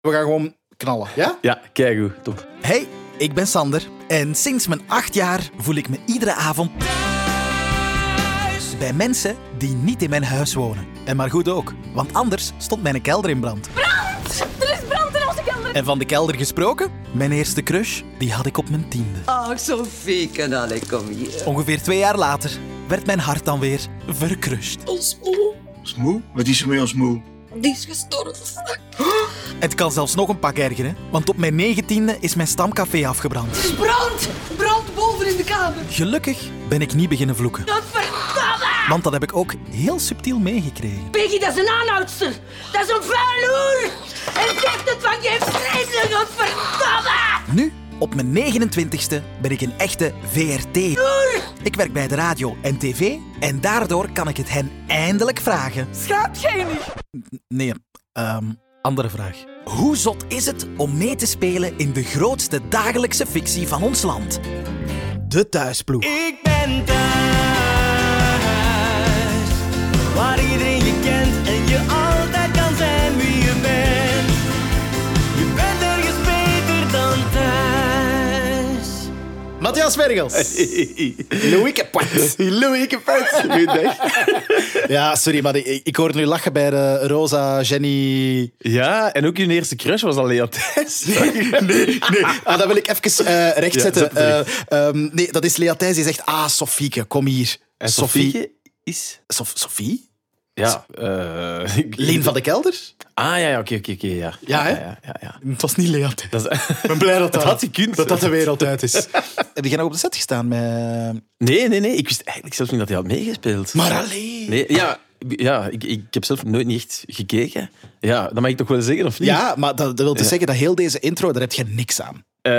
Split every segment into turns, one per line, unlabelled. We gaan gewoon knallen, ja?
Ja, kijk hoe. Top.
Hey, ik ben Sander en sinds mijn acht jaar voel ik me iedere avond thuis bij mensen die niet in mijn huis wonen. En maar goed ook, want anders stond mijn kelder in brand.
Er is brand in onze kelder.
En van de kelder gesproken, mijn eerste crush, die had ik op mijn tiende.
Ach, Sophie, kanale, kom hier.
Ongeveer twee jaar later werd mijn hart dan weer verkrust.
Ons moe.
Ons moe? Wat is er met ons moe?
Die is gestorven.
Het kan zelfs nog een pak ergeren, want op mijn negentiende is mijn stamcafé afgebrand.
Er is brand! Brand boven in de kamer.
Gelukkig ben ik niet beginnen vloeken,
Dat verdomme.
want dat heb ik ook heel subtiel meegekregen.
Peggy, dat is een aanhoudster. Dat is een vuil hoer. En zegt het van je vreselijk. Dat verdomme.
Nu, op mijn 29ste, ben ik een echte VRT. Ik werk bij de radio en tv en daardoor kan ik het hen eindelijk vragen.
Schaapgenig.
Nee, ehm, andere vraag. Hoe zot is het om mee te spelen in de grootste dagelijkse fictie van ons land? De thuisploeg.
Ik ben thuis, waar iedereen je kent en je altijd kan zijn wie je bent. Je bent ergens beter dan thuis.
Matthias Vergels. Louis Capet.
Louis, ik heb het. Goedendag.
Ja, sorry, maar ik, ik hoorde nu lachen bij de Rosa, Jenny...
Ja, en ook je eerste crush was al Lea Thijs.
Ah, dat wil ik even eh rechtzetten.
zet het
Eh, ehm, nee, dat is Lea Thijs die zegt... Ah, Sofieke, kom hier.
En Sofieke is...
Sof- Sofie?
Ja. eh, ik-
Leen van de Kelder?
Ah, ja, ja, oké, oké, oké. Ja,
Ja, hè?
ja, ja, ja.
Het was niet Lea Thijs.
Dat is...
Ik ben blij dat dat,
Dat had gekund.
dat, dat de wereld uit is. Heb jij nog op de set gestaan met...
Nee, nee, nee. Ik wist eigenlijk zelfs niet dat hij had meegespeeld.
Maar alleen.
Nee, ja, ja ik, ik heb zelf nooit niet echt gekeken. Ja, dat mag ik toch wel zeggen, of niet?
Ja, maar dat, dat wil dus zeggen dat heel deze intro, daar heb je niks aan.
Eh,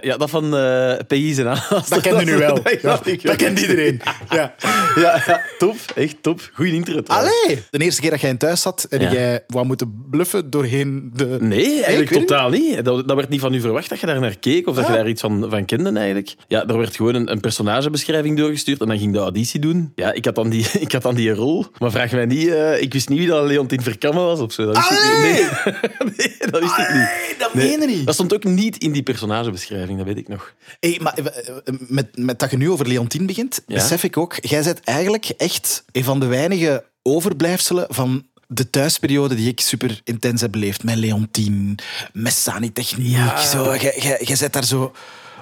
ja, dat van eh PI's en alles.
Dat kende nu wel.
Dat,
Ja, dat kent iedereen. Ja.
Ja, ja, top. Echt top. Goeie intro. trouwens.
Allee! De eerste keer dat jij in thuis zat, heb
Ja.
jij wat moeten bluffen doorheen de...
Nee,
ik Ah.
eigenlijk
weet
totaal niet. Dat, dat werd niet van u verwacht dat je daar naar keek of dat je daar iets van, van kende eigenlijk. Ja, er werd gewoon een, een personagebeschrijving doorgestuurd en dan ging de auditie doen. Ja, ik had dan die, ik had dan die rol. Maar vraag mij niet, eh, ik wist niet wie dat Leontien Verkamme was of zo. Dat wist
Allee!
ik niet. Nee. nee, dat wist ik niet.
dat
Nee,
meen je niet.
Dat stond ook niet in die personagebeschrijving, dat weet ik nog.
Hey, maar eh, eh, met, met dat je nu over Leontien begint,
Ja.
besef ik ook, jij bent eigenlijk echt een van de weinige overblijfselen van de thuisperiode die ik super intens heb beleefd. Met Leontien, met Sanitechniek, zo. Jij- Jij jij bent daar zo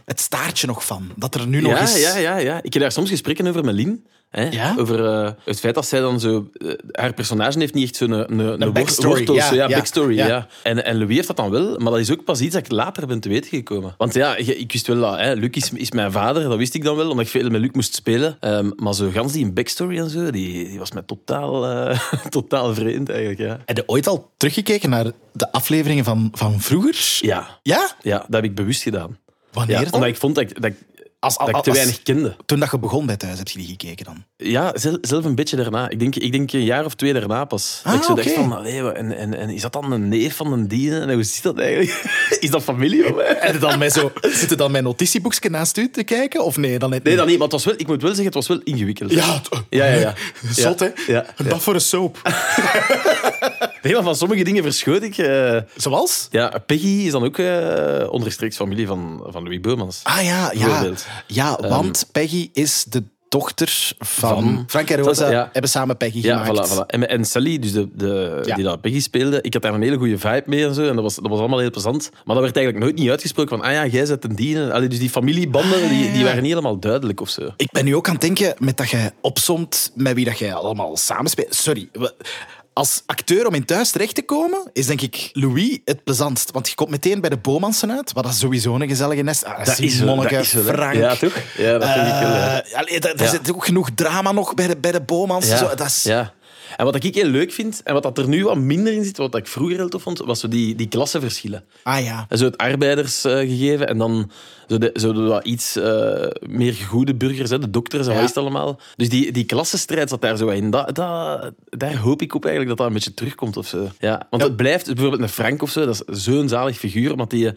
het staartje nog van. Dat er nu nog
ja,
is.
ja, ja, ja. Ik heb daar soms gesprekken over met Lien. Hè?
Ja?
Over eh, het feit dat zij dan zo... eh, haar personage heeft niet echt zo'n eh, een, een, wor-
backstory,
wortel,
ja,
zo, ja,
ja,
backstory.
ja.
Ja. En, en Louis heeft dat dan wel, maar dat is ook pas iets dat ik later ben te weten gekomen. Want ja, je- ik wist wel dat hè, Luc is, is mijn vader, dat wist ik dan wel, omdat ik veel met Luc moest spelen. Ehm, maar zo gans die backstory en zo, die, die was mij totaal, eh, totaal vreemd eigenlijk. Ja.
Heb je ooit al teruggekeken naar de afleveringen van, van vroeger?
Ja.
Ja?
ja, dat heb ik bewust gedaan.
Wanneer
Ja,
dan?
omdat ik vond dat ik, dat ik,
Als-
dat ik
als-
te weinig kende.
Toen dat je begon bij thuis, heb je die gekeken dan?
Ja, zel- zelf een beetje daarna. Ik denk, ik denk een jaar of twee daarna pas.
Ah,
ik zo dacht
oké.
van, allee, wat- en, en, en is dat dan een neef van een dienen? En hoe zit dat eigenlijk? Is dat familie van mij?
Heb je dan met zo, zit er dan mijn notitieboekje naast u te kijken? Of nee, dan net
Nee, dat niet. Maar het was wel, ik moet wel zeggen, het was wel ingewikkeld.
Ja,
Ja, ja, ja.
Zot, hè?
Ja, ja.
Een dag voor een soap.
Nee, maar van sommige dingen verschoot ik. eh.
Zoals?
ja, Peggy is dan ook eh onderstreeks familie van, van Louis Beumans.
Ah ja, ja.
Bijvoorbeeld. Ehm,
Ja, want Peggy is de dochter van...
Van-
Frank en Rosa
Ja.
hebben samen Peggy
Ja, voilà,
gemaakt.
voilà. En, en Sally, dus de, de,
Ja.
die dat Peggy speelde, ik had daar een hele goede vibe mee en zo. En dat was, dat was allemaal heel plezant. Maar dat werd eigenlijk nooit niet uitgesproken van, ah ja, jij zet een dienen. Allee, dus die familiebanden, die,
Ah.
die waren niet helemaal duidelijk of zo.
Ik ben nu ook aan het denken met dat jij opzomt met wie dat jij allemaal samenspeelt. Sorry. we- Als acteur om in thuis terecht te komen, is denk ik Louis het plezantst. Want je komt meteen bij de Bomansen uit, wat dat sowieso een gezellige nest. Ah, Simon
zo,
Monniken,
dat is zo, hè.
Frank.
Ja, toch? Ja, dat vind ik wel, ja.
Eh, allee, daar daar
Ja.
zit ook genoeg drama nog bij de, bij de Bomans.
Ja,
Zo, dat is,
ja. En wat ik heel leuk vind, en wat dat er nu wat minder in zit, wat ik vroeger heel tof vond, was zo die, die klassenverschillen.
Ah ja.
En Zo het arbeidersgegeven en dan zo de, zo de wat iets eh, meer goede burgers, hè, de dokters en
Ja.
wat is het allemaal. Dus die, die klassenstrijd zat daar zo wat in. Dat, dat, daar hoop ik op eigenlijk dat dat een beetje terugkomt of zo. Ja, want het blijft, bijvoorbeeld een Frank of zo, dat is zo'n zalig figuur, want die,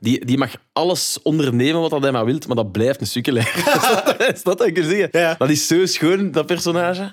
die, die mag alles ondernemen wat dat hij maar wilt, maar dat blijft een sukkelaar. dat is dat wat ik wil zeggen.
Ja.
Dat is zo schoon, dat personage.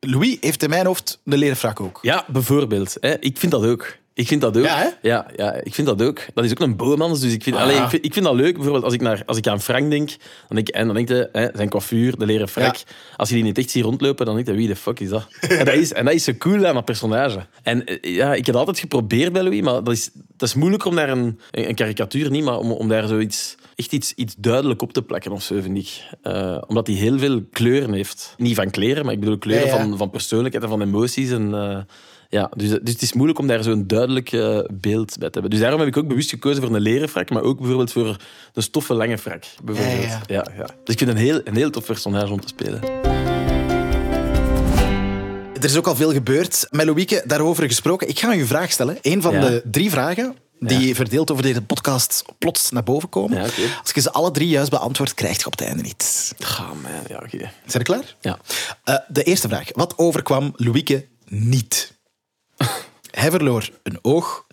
Louis heeft in mijn hoofd de leren frak ook.
Ja, bijvoorbeeld. Hè. Ik vind dat ook. Ik vind dat ook.
Ja, hè? Ah.
ja, ja, ik vind dat ook. Dat is ook een Bouwmans, dus ik vind, allee, ik, vind, ik vind dat leuk. Bijvoorbeeld als ik, naar, als ik aan Frank denk, dan denk, en dan denk je, hè, zijn coiffure, de leren frak. Als je die niet echt ziet rondlopen, dan denk je, wie de fuck is dat? en, dat is, en dat is zo cool aan dat personage. En eh, ja, ik heb dat altijd geprobeerd bij Louis, maar dat is, dat is moeilijk om daar een, een een karikatuur niet, maar om, om daar zoiets... Echt iets, iets duidelijk op te plakken of zo, vind ik. Eh, omdat hij heel veel kleuren heeft. Niet van kleren, maar ik bedoel kleuren
Ja, ja.
Van, van persoonlijkheid en van emoties. En, eh, ja, dus, dus het is moeilijk om daar zo'n duidelijk eh, beeld bij te hebben. Dus daarom heb ik ook bewust gekozen voor een leren frak, maar ook bijvoorbeeld voor een stoffen lange frak. Bijvoorbeeld.
Ja,
Ja, ja. Dus ik vind het een heel, een heel tof personage om te spelen.
Er is ook al veel gebeurd. Met Louieke daarover gesproken. Ik ga u een vraag stellen. Een van
Ja.
de drie vragen die verdeeld over deze podcast plots naar boven komen.
Ja, oké.
Als je ze alle drie juist beantwoordt, krijg je op het einde iets.
Ah, man, ja, oké.
Zijn we klaar?
Ja.
Eh, de eerste vraag. Wat overkwam Louieke niet? hij verloor een oog.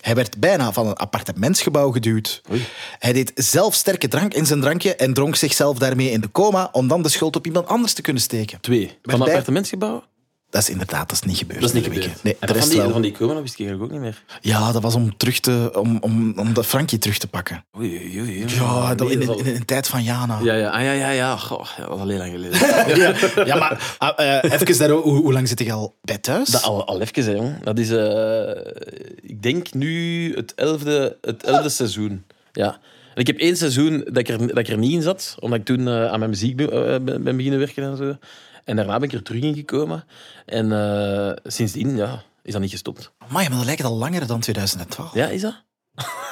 Hij werd bijna van een appartementsgebouw geduwd. Hij deed zelf sterke drank in zijn drankje en dronk zichzelf daarmee in de coma om dan de schuld op iemand anders te kunnen steken.
Twee. Van een
bij-
appartementsgebouw?
Dat is inderdaad dat is niet gebeurd.
Dat is niet
Louieke.
gebeurd.
Nee,
En
de
van
rest
die,
wel.
van die corona wist ik eigenlijk ook niet meer.
Ja, dat was om, terug te, om, om, om dat Frankie terug te pakken.
Oei, oei, oei.
Ja, dat,
Nee,
in,
dat is
in-
al-
in een tijd van Jana.
Ja, ja, ah, ja, ja, ja. Goh, ja, dat was al heel lang geleden.
Ja, ja, maar eh, eh, even daar, hoe, hoe lang zit je al bij thuis?
Dat Nou, al, al even, hè, jong. Dat is, eh, ik denk nu het elfde, het elfde seizoen. Ja. En ik heb één seizoen dat ik, er, dat ik er niet in zat, omdat ik toen eh, aan mijn muziek be- eh, ben, ben beginnen werken en zo. En daarna ben ik er terug in gekomen. En eh, sindsdien, ja, is dat niet gestopt.
Amai, maar dat lijkt al langer dan 2012.
Ja, is dat?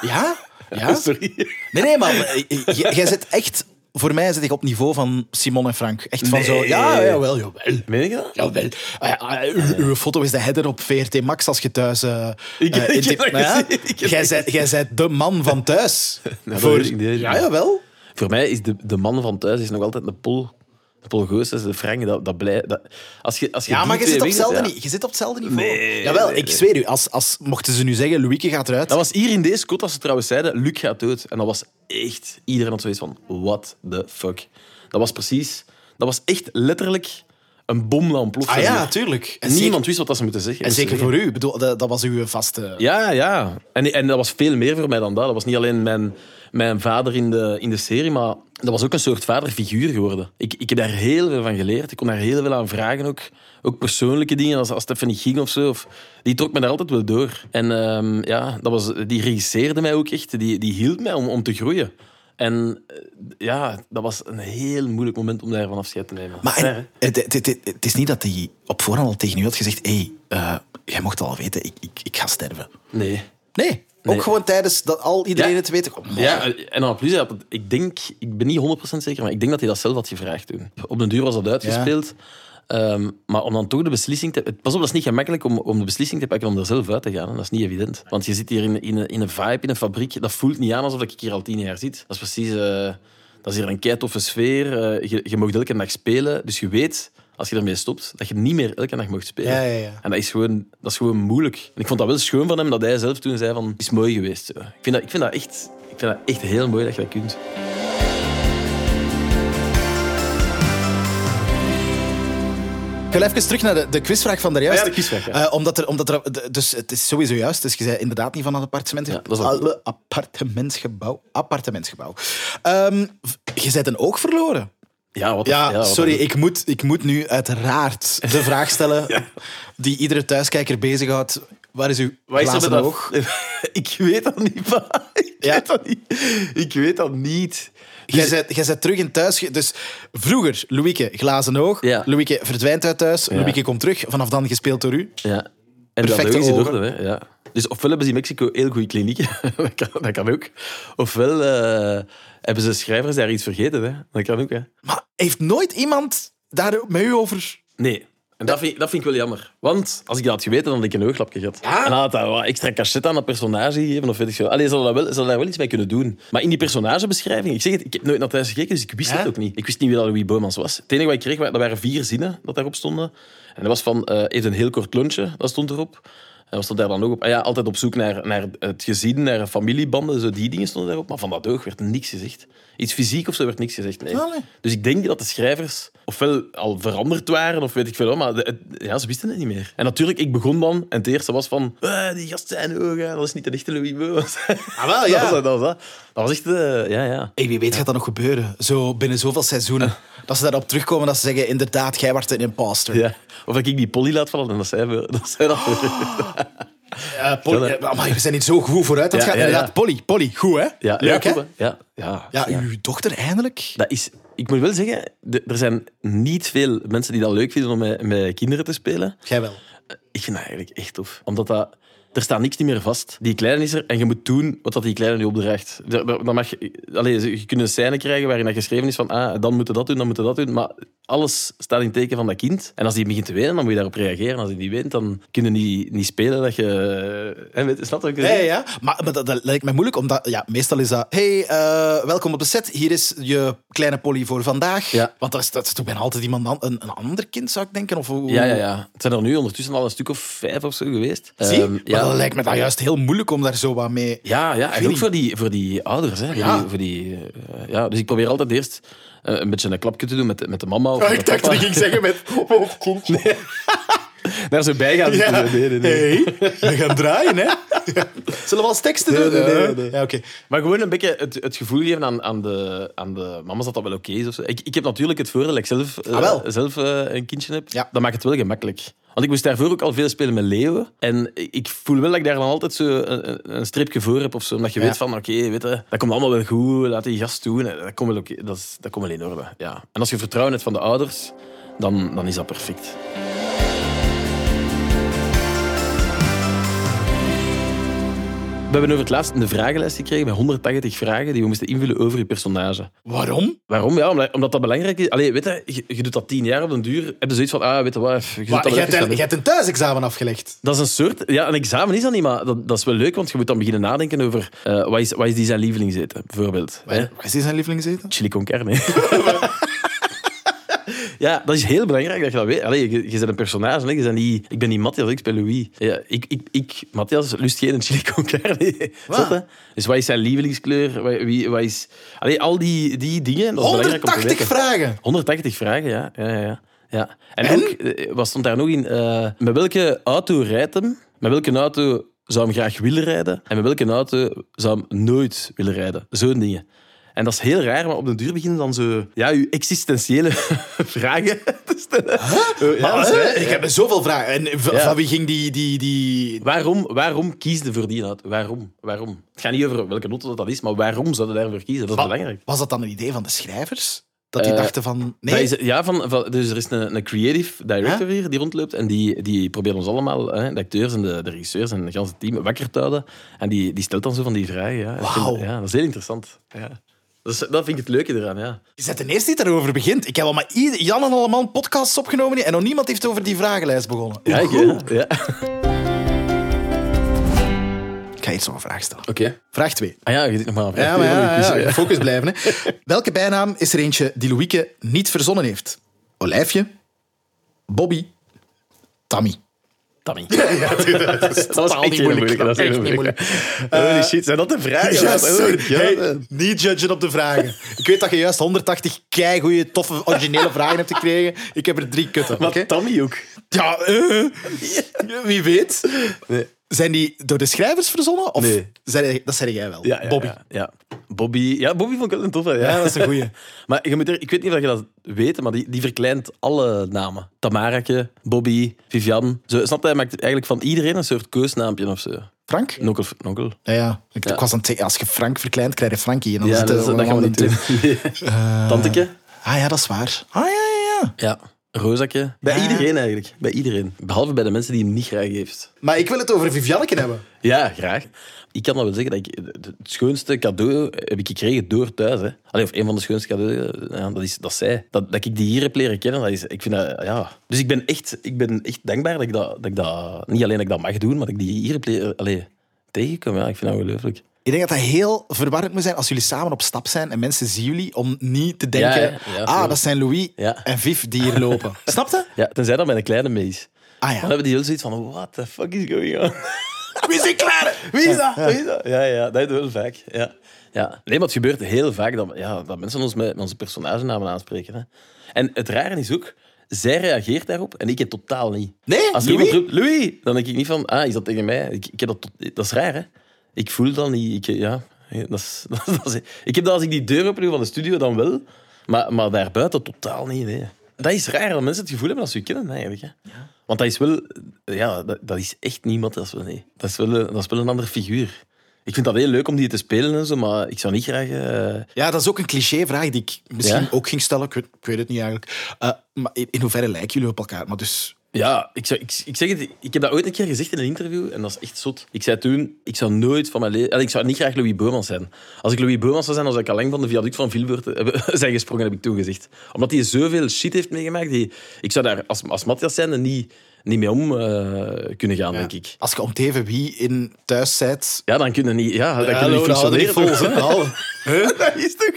Ja? Ja?
Sorry.
Nee, nee, maar eh, eh, j- jij zit echt... Voor mij zit ik op niveau van Simon en Frank. Echt van zo...
Nee.
Ja, jawel, jawel.
Meen ik dat?
Jawel. Ah, ja, ah, uw, uw foto is de header op VRT Max als je thuis... eh,
Ik-
eh,
ik heb
inti-
dat
Nou ja,
gezien, ik heb dat
Jij bent- jij bent de man van thuis.
dat
Voor-
weet ik niet.
Ja, jawel.
Voor mij is de, de man van thuis is nog altijd de Pol. De Pol Goossens, de Frank. Dat, dat blij, dat, als je, als je
Ja,
die
maar je
twee
zit, op
weg-
hetzelfde
ja.
ni- je zit op hetzelfde niveau.
Nee,
Jawel,
nee,
ik
nee.
zweer u, als, als, mochten ze nu zeggen, Louieke gaat eruit.
Dat was hier in deze kot, als ze trouwens zeiden, Luc gaat dood. En dat was echt, iedereen had zoiets van, what the fuck. Dat was precies, dat was echt letterlijk een bom dat ontplofte.
ah ja,
hier.
tuurlijk. En
Niemand
zeker,
wist wat dat ze moeten zeggen.
en zeker
Moesten
voor u, Ik bedoel, dat, dat was uw vaste...
zeggen. Ja, ja. En, en dat was veel meer voor mij dan dat. Dat was niet alleen mijn, mijn vader in de, in de serie, maar dat was ook een soort vaderfiguur geworden. Ik, ik heb daar heel veel van geleerd. Ik kon daar heel veel aan vragen ook. Ook persoonlijke dingen, als, als het even niet ging of zo. Of, die trok me daar altijd wel door. En ehm, ja, dat was, die regisseerde mij ook echt. Die, die hield mij om, om te groeien. En eh, ja, dat was een heel moeilijk moment om daarvan afscheid te nemen.
Maar en- eh,
Ver, hè?
het, het, het, het is niet dat hij op voorhand al tegen u had gezegd, hé, hey, eh, jij mocht al weten, ik, ik, ik ga sterven.
nee.
Nee, ook
Nee.
gewoon tijdens dat al iedereen
Ja.
het weet. Oh, man.
Ja, eh, en dan plus, hij had het- ik denk, ik ben niet 100% zeker, maar ik denk dat hij dat zelf had gevraagd toen. Op den duur was dat uitgespeeld. Ehm, maar om dan toch de beslissing te... Pas op, dat is niet gemakkelijk om, om de beslissing te pakken om er zelf uit te gaan. hè. Dat is niet evident. Want je zit hier in, in, een- in een vibe, in een fabriek. Dat voelt niet aan alsof ik hier al tien jaar zit. Dat is precies... eh, dat is hier een keitoffe sfeer. Eh, je, je mag elke dag spelen. Dus je weet, als je ermee stopt, dat je niet meer elke dag mag spelen.
Ja, ja, ja.
En dat is, gewoon, dat is gewoon moeilijk. En ik vond dat wel schoon van hem dat hij zelf toen zei van... Het is mooi geweest. zo. Ik vind dat, ik vind dat, echt, ik vind dat echt heel mooi dat je dat kunt.
Ik wil even terug naar de, de quizvraag van daarjuist.
Ja, de quizvraag, ja.
Eh, omdat er, omdat er, de- dus het is sowieso juist. Dus je zei inderdaad niet van het appartement.
Ja, dat is al-
Alle appartementsgebouw. Appartementsgebouw. Ehm, v- je bent een oog verloren.
Ja, wat
Ja,
wat-
sorry. Ik moet, ik moet nu uiteraard de vraag stellen die iedere thuiskijker bezighoudt. Waar is uw
Wat is er
glazen
met dat-
oog?
ik weet dat niet, pa. Ik,
Ja.
weet dat niet. ik weet dat niet. Dus-
Jij bent, jij bent terug in thuis. ge- Dus vroeger, Louieke, glazen oog.
Ja.
Louieke verdwijnt uit thuis. Louieke komt terug. Vanaf dan gespeeld door u.
Ja. En dat
Perfecte
is in
ogen.
orde, hè. Ja. Dus ofwel hebben ze in Mexico heel goede klinieken, dat, kan, dat kan ook. Ofwel eh, hebben ze schrijvers daar iets vergeten, hè. dat kan ook. Hè.
Maar heeft nooit iemand daar met u over
Nee. En dat vind, ik- dat vind ik wel jammer. Want als ik dat had geweten, dan had ik een ooglapje gehad. En dan had dat wat extra cachet aan dat personage gegeven. Of weet ik veel. Allee, ze hadden, dat wel, ze hadden daar wel iets mee kunnen doen. Maar in die personagebeschrijving, ik zeg het, ik heb nooit naar thuis gekeken, dus ik wist het ook niet. Ik wist niet wie dat Louis Boumans was. Het enige wat ik kreeg, wa- dat waren vier zinnen dat daarop stonden. En dat was van, eh heeft een heel kort lunchje, dat stond erop. En wat stond daar dan ook op? Ah ja, altijd op zoek naar, naar het gezin, naar familiebanden, zo die dingen stonden daarop. Maar van dat oog werd niks gezegd. Iets fysiek of zo werd niks gezegd, nee.
Allee.
Dus ik denk dat de schrijvers ofwel al veranderd waren, of weet ik veel wat, maar de- het- ja, ze wisten het niet meer. En natuurlijk, ik begon dan, en het eerste was van, "Eh, die gast zijn ogen, dat is niet de echte Louis Meubels.
Ah, wel, ja.
dat, was, dat, was, dat. Dat was echt, eh, ja, ja.
Hey, wie weet gaat dat nog gebeuren, zo binnen zoveel seizoenen. Dat ze daarop terugkomen dat ze zeggen, inderdaad, jij wordt een imposter.
ja. Of dat ik die polly laat vallen en dat zij we- dat. Zij dat
Eh, Polly, eh, amai, we zijn niet zo goed vooruit. Dat
Ja,
gaat
ja, ja.
inderdaad. Polly, Polly, goed hè?
ja,
Leuk
ja,
hè?
goed, hè? Ja, ja,
Ja, uw dochter eindelijk.
Dat is, ik moet wel zeggen, de- er zijn niet veel mensen die dat leuk vinden om met, met kinderen te spelen.
Jij wel.
Ik vind dat eigenlijk echt tof. Omdat dat, er staat niks niet meer vast. Die kleine is er en je moet doen wat dat die kleine nu opdraagt. Er- er- Dan mag je, allez, je kunt een scène krijgen waarin dat geschreven is van ah, dan moeten dat doen, dan moeten dat doen. Maar alles staat in het teken van dat kind. En als die begint te wenen, dan moet je daarop reageren. Als die niet weent, dan kunnen die niet spelen dat je... eh, Hè, weet, snap je wat ik
Ja,
zeg?
ja, ja. Maar, maar dat, dat lijkt mij moeilijk, omdat ja, meestal is dat... hey, eh, welkom op de set. Hier is je kleine Polly voor vandaag.
Ja.
Want dat is, dat is toch bijna altijd iemand an- een, een ander kind, zou ik denken. Of, hoe-
Ja, ja, ja. Het zijn er nu ondertussen al een stuk of vijf of zo geweest.
Zie?
Ehm,
Maar
ja.
dat lijkt me dan juist heel moeilijk om daar zo wat mee...
Ja, ja en ook
niet.
voor die, voor die ouders. Hè. Voor
Ja.
Die, voor die, eh, ja. Dus ik probeer altijd eerst eh, een beetje een klapje te doen met, de- met de mama. Of
Ah,
met
ik
de
dacht
papa.
dat ik ging zeggen met... Of kindje.
Daar zo bij gaan
Ja.
zitten. Nee, nee, nee.
Hey, we gaan draaien, hè? Zullen we als teksten doen?
Nee, nee, nee, nee.
Ja, oké.
Maar gewoon een beetje het, het gevoel geven aan, aan, de, aan de mama's dat dat wel oké is. Of zo. Ik, ik heb natuurlijk het voordeel dat ik zelf, eh,
Ah, wel.
zelf eh, een kindje heb.
Ja.
Dat maakt het wel gemakkelijk. Want ik moest daarvoor ook al veel spelen met leeuwen. En ik- ik voel wel dat ik daar dan altijd zo een, een- een streepje voor heb. Of zo, omdat je
Ja.
weet van, oké, weet je, dat komt allemaal wel goed. Laat die gast doen. Eh, Dat komt wel, oké, dat is, dat komt wel in orde. Ja. En als je vertrouwen hebt van de ouders, dan, dan is dat perfect. We hebben over het laatst een vragenlijst gekregen met 180 vragen die we moesten invullen over je personage.
Waarom?
Waarom? Ja, omdat, omdat dat belangrijk is. Allee, weet je, je, je doet dat tien jaar op den duur. Heb je zoiets van, ah, weet je wat, je zult dat
Maar,
wel
jij, hebt
even
een,
gaan
jij hebt een thuisexamen afgelegd.
dat is een soort... Ja, een examen is dat niet, maar dat, dat is wel leuk, want je moet dan beginnen nadenken over eh, wat, is, wat is die zijn lievelingseten, bijvoorbeeld. Hè?
Waar is die zijn lievelingseten?
Chili con carne. ja, dat is heel belangrijk dat je dat weet. Allee, je, je bent een personage, hè. Je bent niet, ik ben niet Matthias, ik speel Louis. Ja, ik, ik, ik, Matthias lust geen chili con carne. Zot, hè? Dus wat is zijn lievelingskleur? Wat, wie, wat is... Allee, al die, die dingen, dat is belangrijk om te
180
weten.
vragen.
180 vragen, ja. ja, ja, ja. ja. En,
En?
ook, eh, wat stond daar nog in? eh, met welke auto rijdt hem? Met welke auto zou hem graag willen rijden? En met welke auto zou hem nooit willen rijden? Zo'n dingen. En dat is heel raar, maar op den duur beginnen dan zo... Ja, je existentiële vragen te stellen. Eh, ja,
Maar,
dat is
hè,
raar.
ik heb zoveel vragen. En v-
Ja.
van wie ging die... die, die...
Waarom, waarom kies je voor die auto? Waarom? waarom? Het gaat niet over welke auto dat, dat is, maar waarom zou je daarvoor kiezen? Dat is belangrijk.
Was dat dan een idee van de schrijvers? Dat die
Eh,
dachten van...
Dat
Nee,
is- ja, van, van- dus er is een, een creative director hier die rondloopt en die, die probeert ons allemaal, hè, de acteurs en de, de regisseurs en het hele team, wakker te houden. En die, die stelt dan zo van die vragen. Ja. Ik vind-
Wauw.
Ja, dat is heel interessant. Ja. Dat, is- dat vind ik het leuke eraan, ja.
je bent de eerste die daarover begint. Ik heb al maar ieder- Jan en allemaal podcasts opgenomen en nog niemand heeft over die vragenlijst begonnen.
Ja, ik- ja. ja.
Ik ga eerst nog een vraag stellen.
Oké.
Vraag 2.
Ah ja, je zit nog maar aan
Ja, maar
vraag twee van
ja,
de
ja,
quiz,
ja, focus blijven. Hè. Welke bijnaam is er eentje die Louieke niet verzonnen heeft? Olijfje, Bobby, Tammy.
Tammy. dat was echt heel moeilijk. Dat was heel moeilijk. Oh, Holy shit, zijn dat de vragen?
Ja,
Dat is heel moeilijk, ja.
Hey, niet judgen op de vragen. Ik weet dat je juist 180 keigoeie, toffe, originele vragen hebt gekregen. Ik heb er drie kutten.
Maar
oké?
Tammy ook.
Ja, eh, wie weet. Zijn die door de schrijvers verzonnen? Of
Nee.
zijn, dat zei jij wel.
Ja, ja,
Bobby.
Ja, ja. Bobby. Ja, Bobby vond ik wel een toffe. Ja.
Ja, dat is een goeie.
Maar je moet er, ik weet niet of je dat weet, maar die, die verkleint alle namen. Tamarake, Bobby, Vivian. Zo, snap je? Hij maakt eigenlijk van iedereen een soort keusnaampje of zo.
Frank?
Nokkel, nokkel.
Ja, ja. Ik, ik was aan het zeggen, als je Frank verkleint, krijg je Frankie. En dan
Ja,
zit
Dus dat, is-
er
dat gaan we
allemaal
niet
in
doen. Tanteke,
Ah ja, dat is waar. Ah ja, ja, ja.
ja. Rozakje. Bij
Ja.
iedereen eigenlijk. Bij iedereen. Behalve bij de mensen die hem niet graag heeft.
Maar ik wil het over Vivianneke hebben.
Ja, graag. Ik kan wel zeggen dat ik het schoonste cadeau heb ik gekregen door thuis. Hè. Allee, of een van de schoonste cadeaus, eh, ja, dat is, dat is zij. Dat, dat ik die hier heb leren kennen, dat is, ik vind dat, ja. Dus ik ben echt, ik ben echt dankbaar dat ik dat, dat ik dat, niet alleen dat ik dat mag doen, maar dat ik die hier heb leren allee, tegenkomen. Ja, ik vind dat ongelooflijk.
Ik denk dat dat heel verwarrend moet zijn als jullie samen op stap zijn en mensen zien jullie om niet te denken,
Ja, ja, ja,
ah, dat
tuurlijk.
zijn Louis
Ja.
en Viv die hier lopen. Snap je?
Ja, tenzij dat met een kleine mees.
Ah ja.
Dan hebben die heel zoiets van, what the fuck is going on?
Wie is die kleine?
Wie is dat? Wie is dat? Ja, ja, dat doen we heel vaak. Ja. Ja. Nee, maar het gebeurt heel vaak dat, ja, dat mensen ons met, met onze personagenamen aanspreken. Hè. En het rare is ook, zij reageert daarop en ik het totaal niet.
Nee,
Als er
Louis?
iemand roept, Louis, dan denk ik niet van, ah, is dat tegen mij? Ik, ik heb dat, tot- dat is raar, hè? Ik voel dat niet. Ik, ja, dat is, dat is- dat is- ik heb dat als ik die deur open doe van de studio dan wel, maar, maar daarbuiten totaal niet. Nee. Dat is raar dat mensen het gevoel hebben dat ze je kennen, eigenlijk. Hè? Want dat is wel, ja, dat, dat is echt niemand. Dat is wel, nee. dat is wel, eh, dat is wel een andere figuur. Ik vind dat heel leuk om die te spelen en zo, maar ik zou niet graag. eh,
Ja, dat is ook een clichévraag die ik misschien
Ja.
ook ging stellen. Ik weet, ik weet het niet eigenlijk. Eh, maar in, in hoeverre lijken jullie op elkaar? Maar dus,
Ja, ik, zou, ik, ik zeg het, ik heb dat ooit een keer gezegd in een interview en dat is echt zot. Ik zei toen, ik zou nooit van mijn leven... Ik zou niet graag Louis Beumans zijn. Als ik Louis Beumans zou zijn, dan zou ik alleen van de viaduct van Vilvoort hebben- zijn gesprongen, heb ik toen gezegd. Omdat hij zoveel shit heeft meegemaakt. Die, ik zou daar als, als Matthias zijn er niet, niet mee om eh, kunnen gaan, denk ik.
als je om teven wie in thuis zijt...
Ja, dan kunnen niet... Ja, dan kunnen
hallo,
niet
dan hadden we
functioneren.
hier
toch? dat is toch...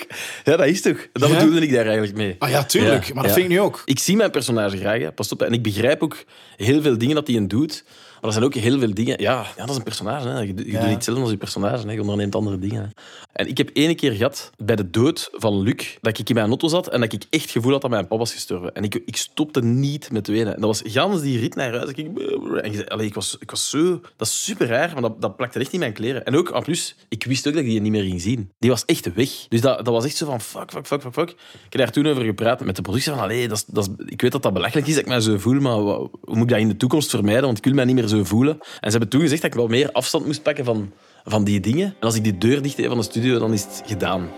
Ja, dat is toch... Dat
Ja.
bedoelde ik daar eigenlijk mee.
Ah ja, tuurlijk.
Ja,
maar dat
ja.
vind ik nu ook.
Ik zie mijn personage graag, hè. pas op. hè. En ik begrijp ook heel veel dingen dat hij een doet. Maar er zijn ook heel veel dingen... Ja, ja dat is een personage. Hè. Je, doet- je doet niet hetzelfde als je personage. Hè. Je onderneemt andere dingen. hè. En ik heb één keer gehad, bij de dood van Luc, dat ik in mijn auto zat en dat ik echt het gevoel had dat mijn papa was gestorven. En ik, ik stopte niet met wenen. En dat was gans die rit naar huis. Ik, ging- en je zei- allee, ik, was, ik was zo... Dat is super raar, maar dat, dat plakte echt in mijn kleren. En ook, en plus, ik wist ook dat ik die niet meer ging zien. Die was echt weg. Dus dat, dat was echt zo van fuck, fuck, fuck, fuck, fuck. Ik heb daar toen over gepraat met de productie van, allee, dat is, dat is, ik weet dat dat belachelijk is dat ik mij zo voel, maar wa- hoe moet ik dat in de toekomst vermijden? Want ik wil mij niet meer zo voelen. En ze hebben toen gezegd dat ik wel meer afstand moest pakken van, van die dingen. En als ik die deur dicht deed van de studio, dan is het gedaan.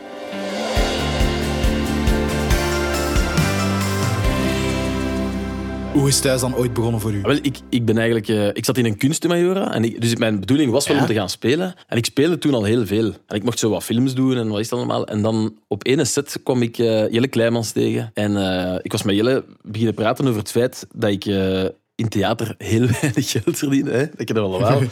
Hoe is thuis dan ooit begonnen voor u?
Ah, Wel, ik, ik, ben eigenlijk, eh, ik zat in een kunstmajora, en ik, dus mijn bedoeling was wel om te gaan spelen. En ik speelde toen al heel veel. En ik mocht zo wat films doen en wat is dat allemaal. En dan op ene set kwam ik eh, Jelle Kleimans tegen. En eh, ik was met Jelle beginnen praten over het feit dat ik eh, in theater heel weinig geld verdiende. Hè? Dat ken je wel wel.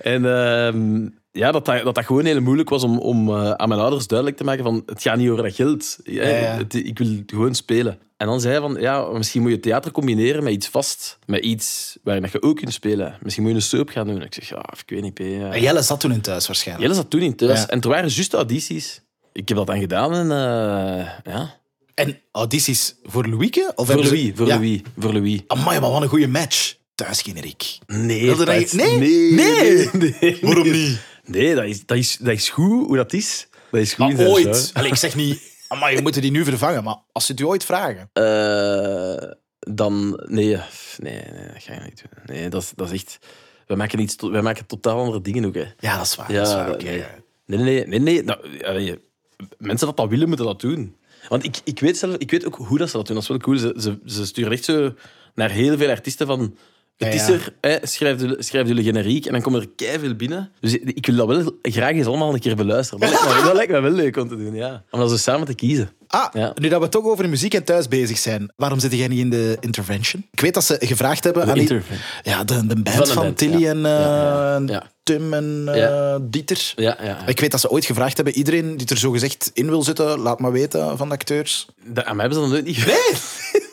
en... ehm, ja, dat, dat dat dat gewoon heel moeilijk was om, om eh, aan mijn ouders duidelijk te maken van het gaat niet over dat geld. Ja,
ja.
het- ik wil gewoon spelen. En dan zei hij van, ja, misschien moet je theater combineren met iets vast. Met iets waarin dat je ook kunt spelen. Misschien moet je een soap gaan doen. Ik zeg, ja, ik weet niet, P. ja.
En Jelle zat toen in thuis waarschijnlijk.
Jelle zat toen in thuis.
Ja.
En er waren juist audities. Ik heb dat dan gedaan en eh, ja.
En audities voor Louieke? Of
Voor
hebben ze-
Louis, voor
Ja.
Louis, voor Louis.
Amai, maar wat een goede match. Thuis generiek.
Nee,
Wilde dat
Bart,
je- nee?
nee,
Nee.
nee.
Waarom niet?
Nee, dat is, dat, is, dat is goed hoe dat is. Dat is goed.
Maar
in zijn
ooit.
zaak.
Allee, ik zeg niet... Amai, we moeten die nu vervangen. Maar als ze het u ooit vragen...
Eh, dan... Nee, f- nee, nee, dat ga je niet doen. Nee, dat is, dat is echt... Wij maken, iets, to- wij maken totaal andere dingen ook, hè.
Ja, dat is waar. Ah, dat is waar, oké.
nee. nee, nee, nee. nee. Nou, allee, mensen dat dat willen, moeten dat doen. Want ik, ik, weet zelf, ik weet ook hoe dat ze dat doen. Dat is wel cool. Ze, ze, ze sturen echt zo naar heel veel artiesten van...
Ja,
Het is
ja.
er, hè, schrijf, jullie- schrijf jullie generiek. En dan komen er keiveel binnen. Dus ik wil dat wel graag eens allemaal een keer beluisteren. Dat lijkt me, dat lijkt me wel leuk om te doen, ja. Om dat zo samen te kiezen.
Ah,
Ja.
nu dat we toch over muziek en thuis bezig zijn, waarom zit jij niet in de intervention? Ik weet dat ze gevraagd hebben aan die,
Intervention.
ja, de, de band
Van
van,
de band,
Tilly
ja.
en
Ja, ja,
eh,
ja.
Tim en eh,
Ja.
Dieter.
Ja, ja, ja.
Ik weet dat ze ooit gevraagd hebben, iedereen die er zo gezegd in wil zitten, laat maar weten van de acteurs.
Dat, aan mij hebben ze dat nooit niet gevraagd.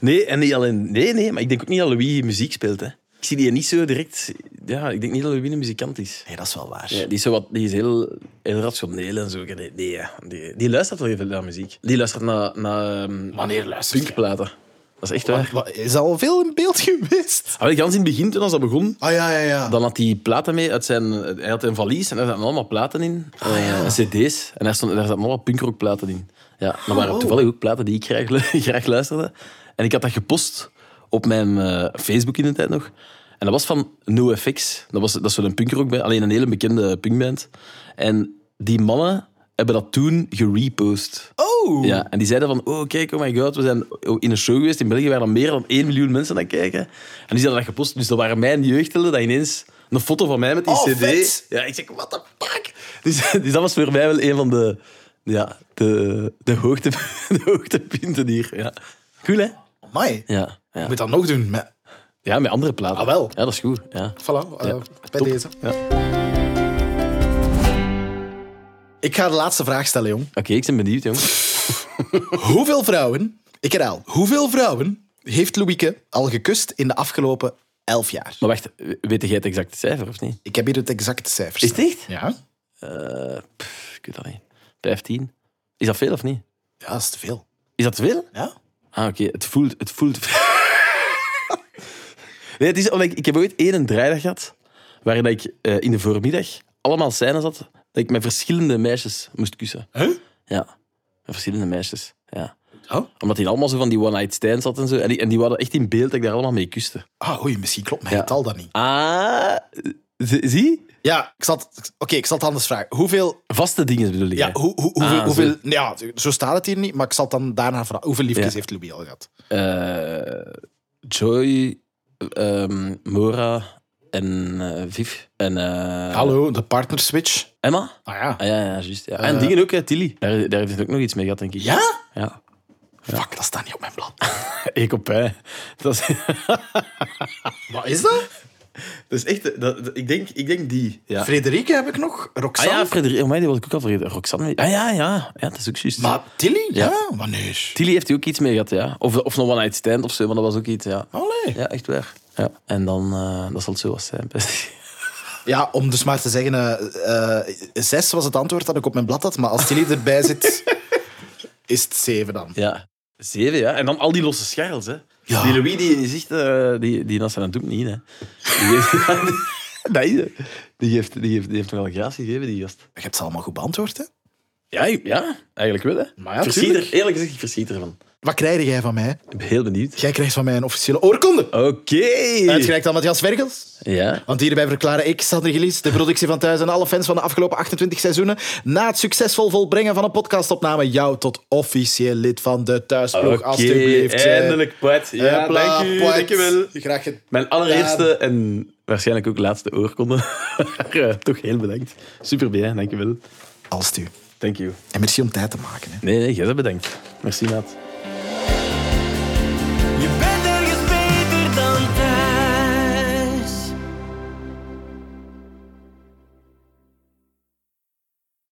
nee, en niet alleen... Nee, nee, maar ik denk ook niet dat Louis muziek speelt, hè. Ik zie die niet zo direct... Ja, ik denk niet dat Louis een muzikant is.
Nee, dat is wel waar.
Ja, die is, zo wat, die is heel, heel rationeel en zo. Nee, nee, ja, die, die luistert wel heel veel naar muziek. Die luistert naar... naar ehm,
Wanneer luistert je?
Punkplaten. Dat is echt waar.
Wat- Is al veel in beeld geweest?
Ah, wel, gans in het begin, toen als dat begon...
Ah ja, ja, ja.
Dan had hij platen mee uit zijn... Hij had een valies en daar zaten allemaal platen in. eh, cd's. En daar, stond, daar zaten allemaal punkrockplaten in. Ja, maar waren toevallig ook platen die ik graag, lu- graag luisterde. En ik had dat gepost op mijn eh, Facebook in de tijd nog. En dat was van NoFX. Dat, was, dat is wel een punkrockband. Alleen een hele bekende punkband. En die mannen hebben dat toen gerepost.
Oh!
Ja, en die zeiden van, oh kijk, oh my god, we zijn in een show geweest in België waar dan meer dan 1 miljoen mensen naar kijken. En die zeiden dat gepost. Dus dat waren mijn jeugdhelden dat ineens een foto van mij met die
Oh,
cd...
vet.
Ja, ik zeg, what the fuck? Dus, dus dat was voor mij wel een van de, ja, de, de, hoogte, de hoogtepunten hier. Ja. Cool, hè?
Amai.
Ja, ja.
Moet dat nog doen. Maar,
ja, met andere platen.
Ah, wel.
Ja, dat is goed. Ja.
voilà, eh,
Ja,
bij
top.
deze.
Ja. Oké,
Ik ga de laatste vraag stellen, jong.
ik ben benieuwd, jongens.
Hoeveel vrouwen, ik herhaal, hoeveel vrouwen heeft Louieke al gekust in de afgelopen Elf jaar.
Maar wacht, weet jij het exacte cijfer of niet?
Ik heb hier het exacte cijfer.
Is het echt?
Ja?
Eh, pff, ik weet dat niet. 15. Is dat veel of niet?
Ja, dat is te veel.
Is dat te veel?
Ja?
Ah, oké. Het voelt... Het voelt... nee, het is omdat ik, ik heb ooit één draaidag gehad waarin ik eh, in de voormiddag allemaal scènes had dat ik met verschillende meisjes moest kussen.
Huh?
Ja. Met verschillende meisjes, ja.
Oh.
Omdat die allemaal zo van die one-night stands had en zo. En die, en die waren echt in beeld dat ik daar allemaal mee kuste.
Ah, oei, misschien klopt mijn
Ja.
getal dan niet.
Ah, z- zie?
Ja, ik zal het, oké, ik zal het anders vragen. Hoeveel,
Vaste dingen bedoel ik.
ja,
hè.
hoe, hoe, hoeveel,
Ah,
hoeveel, ja, zo staat het hier niet, maar ik zal het dan daarna vragen. Hoeveel liefjes
Ja.
heeft Louis al gehad?
Eh, Joy, ehm, Mora en eh, Viv. En eh,
Hallo, de partner switch.
Emma.
Ah ja.
Ah, ja, ja, juist. Ja. En dingen ook, hè, Tilly. Daar, daar heeft hij ook nog iets mee gehad, denk ik.
Ja?
Ja.
Fuck, dat staat niet op mijn plan.
Ik op hè. Dat is,
Wat is dat?
dat is echt... dat- dat- ik, denk, ik denk die. Ja.
Frederike heb ik nog,
Ah
Roxanne.
ja, Frederik. Oh, mij, die wilde ik ook al vergeten. Roxanne. Ah ja, ja. Ja, dat is ook juist.
Maar Tilly? Ja,
Ja.
wanneer?
Tilly heeft hij ook iets mee gehad, ja. Of, of nog One Night Stand of zo, maar dat was ook iets, ja.
Allee.
Ja, echt waar. Ja. En dan... eh, dat zal het zo was zijn.
Ja, om dus maar te zeggen, eh, eh, zes was het antwoord dat ik op mijn blad had, maar als Tilly erbij zit, is het zeven dan.
Ja. Zeven, ja. En dan al die losse scharrels, hè.
Ja.
Die Louis, die is echt... eh, die, die nas aan het doen niet, hè. Die heeft, nee, die heeft, die heeft, die heeft nog wel een graas gegeven, die gast.
Je hebt ze allemaal goed beantwoord, hè?
Ja, ja eigenlijk wel, hè.
Maar ja,
Verschiet
tuurlijk.
er, eerlijk gezegd, ik verschiet ervan.
Wat krijg jij van mij?
Ik ben heel benieuwd.
Jij krijgt van mij een officiële oorkonde.
Oké.
Uitgereikt aan Matthias Vergels.
Ja.
Want hierbij verklaren ik, Sander Gillies, de productie van Thuis en alle fans van de afgelopen 28 seizoenen, na het succesvol volbrengen van een podcastopname, jou tot officieel lid van de Thuisploeg,
Oké,
alstublieft.
eindelijk, Pat. Ja,
Hopla,
dank u.
poet.
Dank je wel.
Graag gedaan.
Mijn allereerste en waarschijnlijk ook laatste oorkonde. Maar, eh, Toch heel bedankt. Super blij, dankjewel.
Als u.
Thank you.
En merci om tijd te maken. Hè.
Nee, nee, jij bent bedankt. Merci, maat.
Je bent